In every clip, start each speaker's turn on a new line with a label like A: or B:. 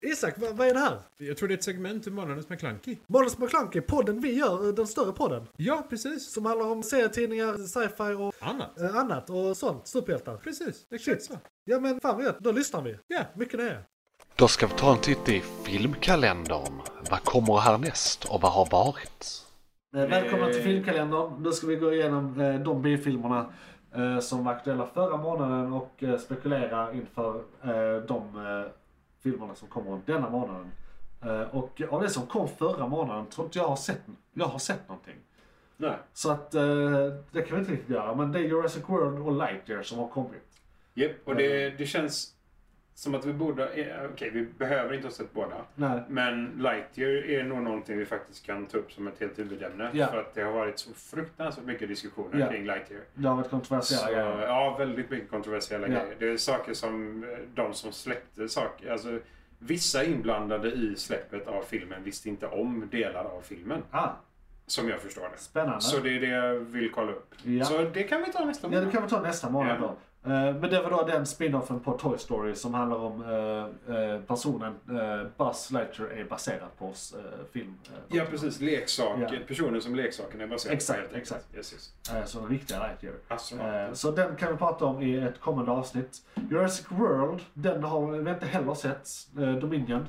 A: Isak, vad, vad är det här?
B: Jag tror det är ett segment ur Månadens McKlunky.
A: Månadens McKlunky, podden vi gör, eh, den större podden.
B: Ja, precis.
A: Som handlar om serietidningar, sci-fi och
B: Annat.
A: eh, annat och sånt. Superhjältar.
B: Precis, exakt så.
A: Ja men fan vad gött, då lyssnar vi.
B: Ja.
A: Mycket nöje.
C: Då ska vi ta en titt i filmkalendern. Vad kommer härnäst och vad har varit?
A: Eh, Välkomna till filmkalendern. Nu ska vi gå igenom eh, de biofilmerna eh, som var aktuella förra månaden och eh, spekulera inför eh, de eh, filmerna som kommer denna månaden. Eh, Och av det som kom förra månaden tror inte jag har sett, jag har sett någonting.
D: Nej.
A: Så att eh, det kan vi inte riktigt göra. Men det är Jurassic World och Lightyear som har kommit.
D: Japp, och det,
A: Ehm.
D: det känns som att vi borde... eh, Okej, vi behöver inte ha sett båda.
A: Nej.
D: Men Lightyear är nog någonting vi faktiskt kan ta upp som ett helt huvudämne.
A: Ja.
D: För att det har varit så fruktansvärt mycket diskussioner
A: Ja. Alltså,
D: kring Lightyear.
A: Det har varit
D: Så,
A: kontroversiella grejer.
D: ja, väldigt mycket kontroversiella
A: Ja.
D: grejer. Det är saker som eh, de som släppte saker, alltså vissa inblandade i släppet av filmen visste inte om delar av filmen.
A: Ah,
D: Som jag förstår det.
A: spännande.
D: Så det är det jag vill kolla upp.
A: Ja.
D: Så det kan vi ta nästa
A: Ja, det kan vi ta nästa månad
D: Ja.
A: då. Eh, Men det var då den spin-offen på Toy Story som handlar om eh, eh, personen eh, Buzz Lightyear är baserad på oss eh, film. eh,
D: Ja, precis. Leksak.
A: Ja.
D: Personer som leksaken är baserad
A: Exakt,
D: helt enkelt.
A: exakt.
D: Yes, Alltså. yes.
A: eh, Så den riktiga Lightyear.
D: Astronauten.
A: Eh, Så den kan vi prata om i ett kommande avsnitt. Jurassic World, den har vi inte heller sett. eh, Dominion.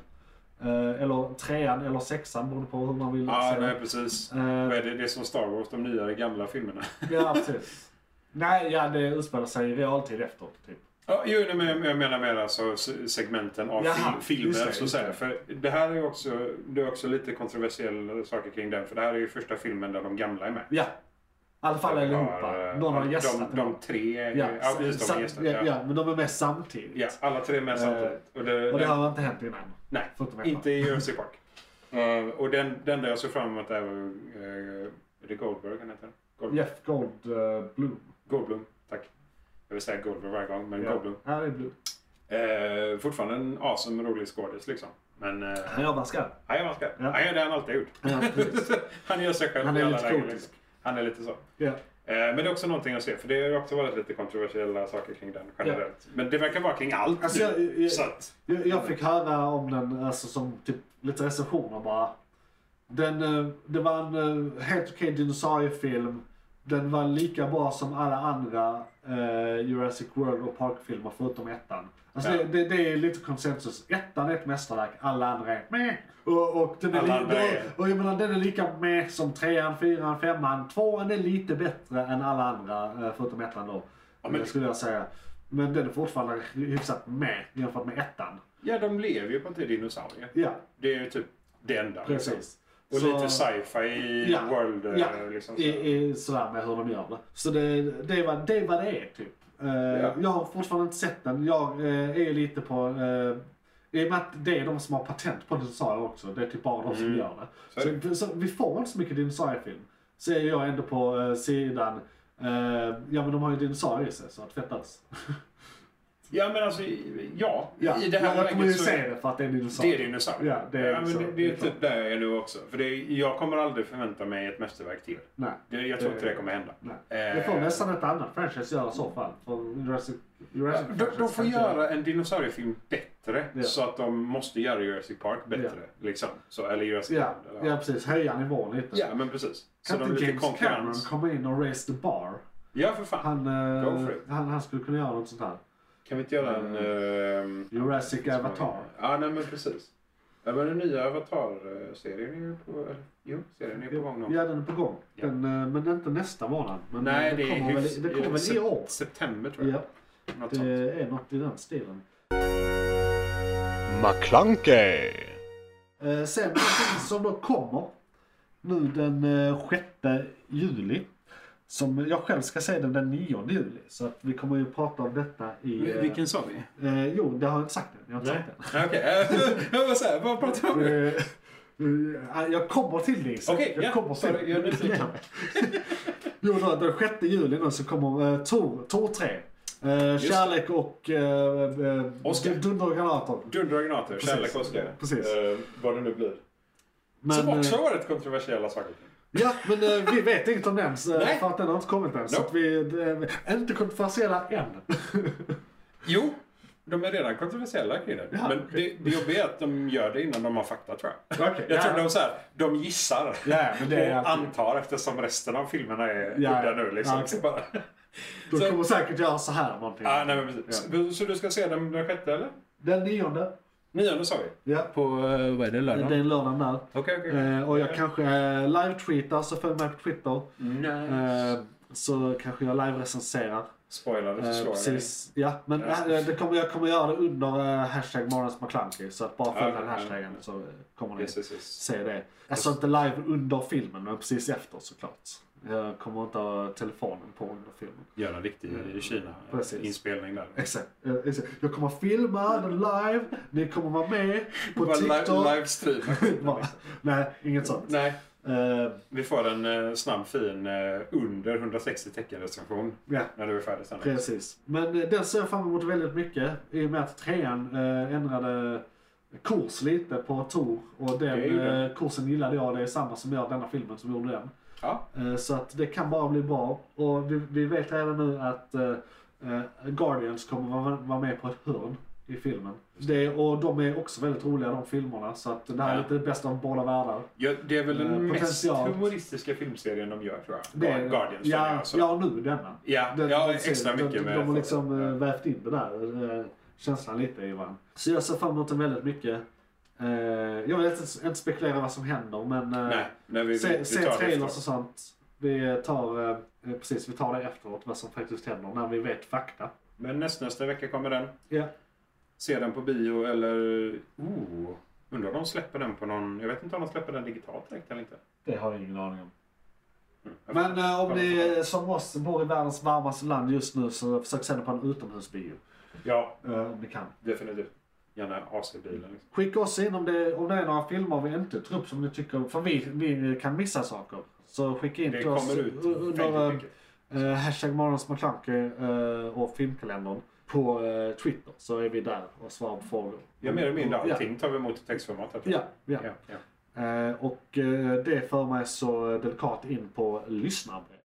A: Eh, Eller trean eller sexan beroende på hur man vill
D: Ja,
A: se
D: nej,
A: den.
D: precis.
A: Eh,
D: Vad är det, det är som Star Wars, de nya de gamla filmerna.
A: Ja, precis. Nej, ja, det utspelar sig i realtid efter. Typ.
D: Ja, jo, nej, men jag menar mer alltså se- segmenten av
A: Jaha,
D: fil-
A: just
D: filmer.
A: det, just
D: så att säga.
A: det.
D: För det här är också, det är också lite kontroversiella saker kring den. För det här är ju första filmen där de gamla är med.
A: Ja. I alla fall allihopa.
D: Har,
A: Någon har
D: eh,
A: gästat.
D: de, de tre, ja,
A: Ja,
D: ja precis, de
A: sam-
D: har gästat.
A: ja,
D: Ja,
A: ja, men de är med samtidigt.
D: Ja, alla tre är med samtidigt. Och det,
A: Och det
D: den-
A: har inte hänt innan.
D: Nej,
A: Förutom ettan.
D: inte i Jurassic Park. Eh, och den, den där jag såg fram emot är uh, är det Goldberg han heter? Goldblum.
A: Jeff Goldblum.
D: Goldblum, tack. Jag vill säga Goldberg varje gång, men
A: Ja,
D: Goldblum.
A: han är Blum.
D: Eh, fortfarande en awesome rolig skådis liksom. Men eh,
A: Han jobbar skarpt.
D: han gör maskar.
A: Ja.
D: Han gör det han alltid har
A: Ja, precis.
D: gjort. han gör sig själv
A: Han är
D: i alla
A: lite
D: lägen,
A: gotisk.
D: liksom. Han är lite så.
A: Ja.
D: Eh, Men det är också någonting att se, för det har ju också varit lite kontroversiella saker kring den generellt. Men det verkar vara kring allt
A: Alltså,
D: nu,
A: jag- jag-
D: så att,
A: Jag, jag fick höra om den alltså, som typ, lite recensioner bara. Den, eh, det var en eh, helt okej dinosauriefilm. Den var lika bra som alla andra eh, Jurassic World och Park-filmer förutom ettan. Alltså
D: Ja.
A: det, det, det är lite konsensus. Ettan är ett mästerverk, alla andra är meh. Och, och, den är
D: Alla
A: li-
D: andra är-
A: och, och jag menar, den är lika meh som trean, fyran, femman. Tvåan är lite bättre än alla andra eh, förutom ettan då.
D: Ja, men-
A: eh, Skulle jag säga. Men den är fortfarande hyfsat med jämfört med ettan.
D: ja de lever ju på inte dinosaurier.
A: Ja,
D: Det är ju typ det enda. liksom.
A: precis.
D: Och
A: Så-
D: lite sci-fi i
A: Ja,
D: world. eh,
A: ja,
D: Liksom, så.
A: i, i, sådär med hur de gör det. Så det, det, var, det var det är typ. Eh,
D: Ja.
A: Jag har fortfarande inte sett den. Jag eh, är lite på... eh, I och med att det är de som har patent på dinosaurier också. Det är typ bara de som gör det.
D: Mm. Så är
A: Så, så vi får inte så mycket dinosauriefilm. Så är jag ändå på eh, sidan... eh, ja men de har ju dinosaurier i sig så att fettas.
D: ja men alltså, ja.
A: Ja,
D: I det här
A: jag kommer ju
D: läget så
A: se det för att det är
D: det är
A: dinosaurier.
D: dinosaurier.
A: Ja, det är
D: men
A: så.
D: det,
A: Det
D: det
A: är
D: är typ där jag är nu också. För det, är- jag kommer aldrig förvänta mig ett mästerverk till.
A: Nej.
D: Det, jag tror
A: Det-
D: inte det kommer hända.
A: Nej. Det får
D: Eh,
A: nästan ett annat franchise göra i så fall. För Jurassic,
D: Ja,
A: Jurassic
D: De, de
A: franchise
D: får
A: kan inte
D: göra en dinosauriefilm bättre
A: Ja.
D: så att de måste göra Jurassic Park bättre. Liksom. Så, eller Jurassic
A: Ja,
D: World, eller-
A: ja precis. Höja nivån lite.
D: ja, men precis. Så
A: Kan
D: de
A: inte
D: lite
A: James Cameron
D: konkurrens.
A: komma in och raise the bar?
D: Ja, för fan.
A: Han, eh,
D: Go for it.
A: han, han skulle kunna göra något sånt här.
D: Kan vi inte göra
A: Mm.
D: en... ehm,
A: Jurassic Avatar.
D: Ja, nej men precis. Ja, men den nya Avatar-serien är ju på... eller, Jo, serien är på gång nu.
A: Ja, den är på gång.
D: Ja.
A: Den, eh, men inte nästa månad. Men
D: Nej,
A: den
D: det är
A: kommer väl,
D: hyfs-
A: den kommer väl i
D: sep-
A: år.
D: September tror jag.
A: Ja,
D: Något sånt.
A: det är något i den stilen.
C: McClunkey!
A: Eh, sen någonting som då kommer nu den eh, 6 juli. Som jag själv ska se den den 9 juli. Så att vi kommer ju prata om detta i... eh,
D: sa vi?
A: Eh, jo, det har jag inte sagt än. Jag har inte
D: Nej.
A: sagt än.
D: Okej, jag var såhär, vad pratar vi om nu?
A: Eh, eh, Jag kommer till dig. så
D: Okej,
A: jag
D: ja,
A: kommer
D: sorry, jag är nyfiken.
A: jo, då, den 6 juli nu så kommer eh, Tor, Tor 3. Eh,
D: Just
A: kärlek och eh, eh,
D: Oscar.
A: dunder och granater.
D: Dunder och granater,
A: Precis.
D: kärlek och Oscar.
A: Precis.
D: Eh, vad det nu blir. Som
A: Men,
D: också
A: eh,
D: har varit kontroversiella saker.
A: ja, men eh, vi vet inget om den så,
D: Nej.
A: för att den har inte kommit än. Så
D: Nope.
A: att vi, det, är inte kontroversiella än.
D: Jo, De är redan kontroversiella kring det.
A: Ja,
D: men
A: okej.
D: det, det jobbiga är att de gör det innan de har fakta tror jag.
A: Okej,
D: jag tror
A: ja.
D: de så här, de gissar
A: Ja, men det är
D: och
A: alltid-
D: antar eftersom resten av filmerna är
A: Ja,
D: udda nu. Liksom.
A: ja, okej.
D: så bara...
A: De
D: Så-
A: kommer säkert göra så här någonting.
D: ja, nej, men precis. Så- Så du ska se den den sjätte eller?
A: Den nionde.
D: Nionde sa vi.
A: Ja.
D: På, eh, vad är det,
A: Det
D: lördagen?
A: är en lördag där.
D: Okej, okej.
A: Eh, och jag kanske eh, live-tweetar, så följ mig på Twitter.
D: Nej.
A: Eh, så kanske jag live-recenserar.
D: Spoilade
A: Eh,
D: förslag.
A: precis.
D: Mm.
A: Ja, men eh, det kommer, jag kommer göra det under eh, hashtag Månadens McKlunky. Så att bara följ
D: Ja,
A: den
D: ja,
A: hashtaggen
D: ja.
A: så eh, kommer ni
D: Yes, yes, yes.
A: se det. Alltså inte live under filmen, men precis efter såklart. Jag kommer inte ha telefonen på under filmen.
D: Gör en riktig eh,
A: Mm. Precis.
D: Kina-inspelning där.
A: Exakt. eh, exakt. Jag kommer filma den live, ni kommer vara med på
D: Bara li-
A: TikTok.
D: livestream.
A: Bara- Nej, inget sånt.
D: Nej,
A: Eh,
D: vi får en eh, snabb fin eh, under 160 tecken recension
A: Ja,
D: när du är färdig sen.
A: precis. Men eh, den ser jag fram emot väldigt mycket i och med att trean eh, ändrade kurs lite på Tor och den
D: Det gjorde den.
A: eh, kursen gillade jag. Det är samma som gör denna filmen som gjorde den.
D: Ja,
A: Eh, Så att det kan bara bli bra. Och vi, vi vet redan nu att eh, eh, Guardians kommer vara, vara med på ett hörn i filmen. Det, och de är också väldigt roliga de filmerna. Så att det här är
D: Ja.
A: lite det bästa av båda världar.
D: ja, det är väl
A: Eh,
D: den mest
A: potential.
D: humoristiska filmserien de gör tror jag.
A: Det, är-
D: Guardians.
A: ja,
D: menar jag, alltså.
A: ja, nu denna.
D: Ja,
A: Den-
D: ja,
A: den
D: extra
A: serien,
D: mycket
A: de,
D: med
A: De har liksom
D: Ja.
A: eh, vävt in det där eh, känslan lite i varandra. Så jag ser fram emot den väldigt mycket. Eh, jag vill inte, inte spekulera vad som händer men eh,
D: Nej, nej, vi, vi,
A: se,
D: vi
A: se
D: tar det
A: trailers och
D: efteråt.
A: sånt. Vi tar, eh, precis, vi tar det efteråt vad som faktiskt händer när vi vet fakta.
D: Men näst, nästa vecka kommer den.
A: Ja,
D: Se den på bio eller... Oh, undrar om de släpper den på någon... Jag vet inte om de släpper den digitalt direkt eller inte.
A: det har jag ingen aning om.
D: Mm.
A: Men eh, om ni eh, som oss bor i världens varmaste land just nu så försök se den på en utomhusbio.
D: Ja,
A: Eh, om ni kan.
D: Definitivt. Gärna AC-bilen. Liksom.
A: Skicka oss in om det, om det är några filmer vi inte tar upp som ni tycker, för vi, vi kan missa saker. Så skicka in
D: Det
A: till oss
D: kommer ut
A: u- under
D: väldigt
A: eh,
D: mycket.
A: eh, hashtag morgonsmacklunky eh, och filmkalendern på eh, Twitter så är vi där och svarar på frågor.
D: Ja, mer eller mindre
A: Ja.
D: allting tar vi emot i textformat. här, tror
A: Ja,
D: jag.
A: ja.
D: Ja, ja.
A: Eh, och eh, det för mig så delikat in på lyssnarbrev.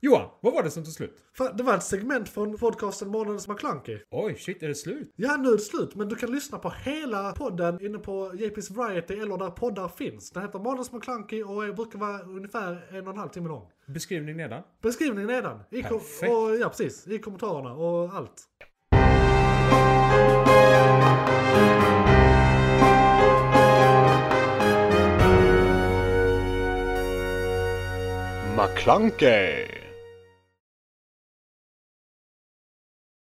B: Johan, vad var det som tog slut?
A: Det var ett segment från podcasten Månadens McKlunky.
B: Oj, shit, är det slut?
A: Ja, nu är det slut, men du kan lyssna på hela podden inne på JP's Variety eller där poddar finns. Den heter Månadens McKlunky och brukar vara ungefär en och en halv timme lång.
B: Beskrivning nedan.
A: Beskrivningen nedan. I kom-
B: Perfekt.
A: och, ja, precis. I kommentarerna och allt.
C: McClunkey!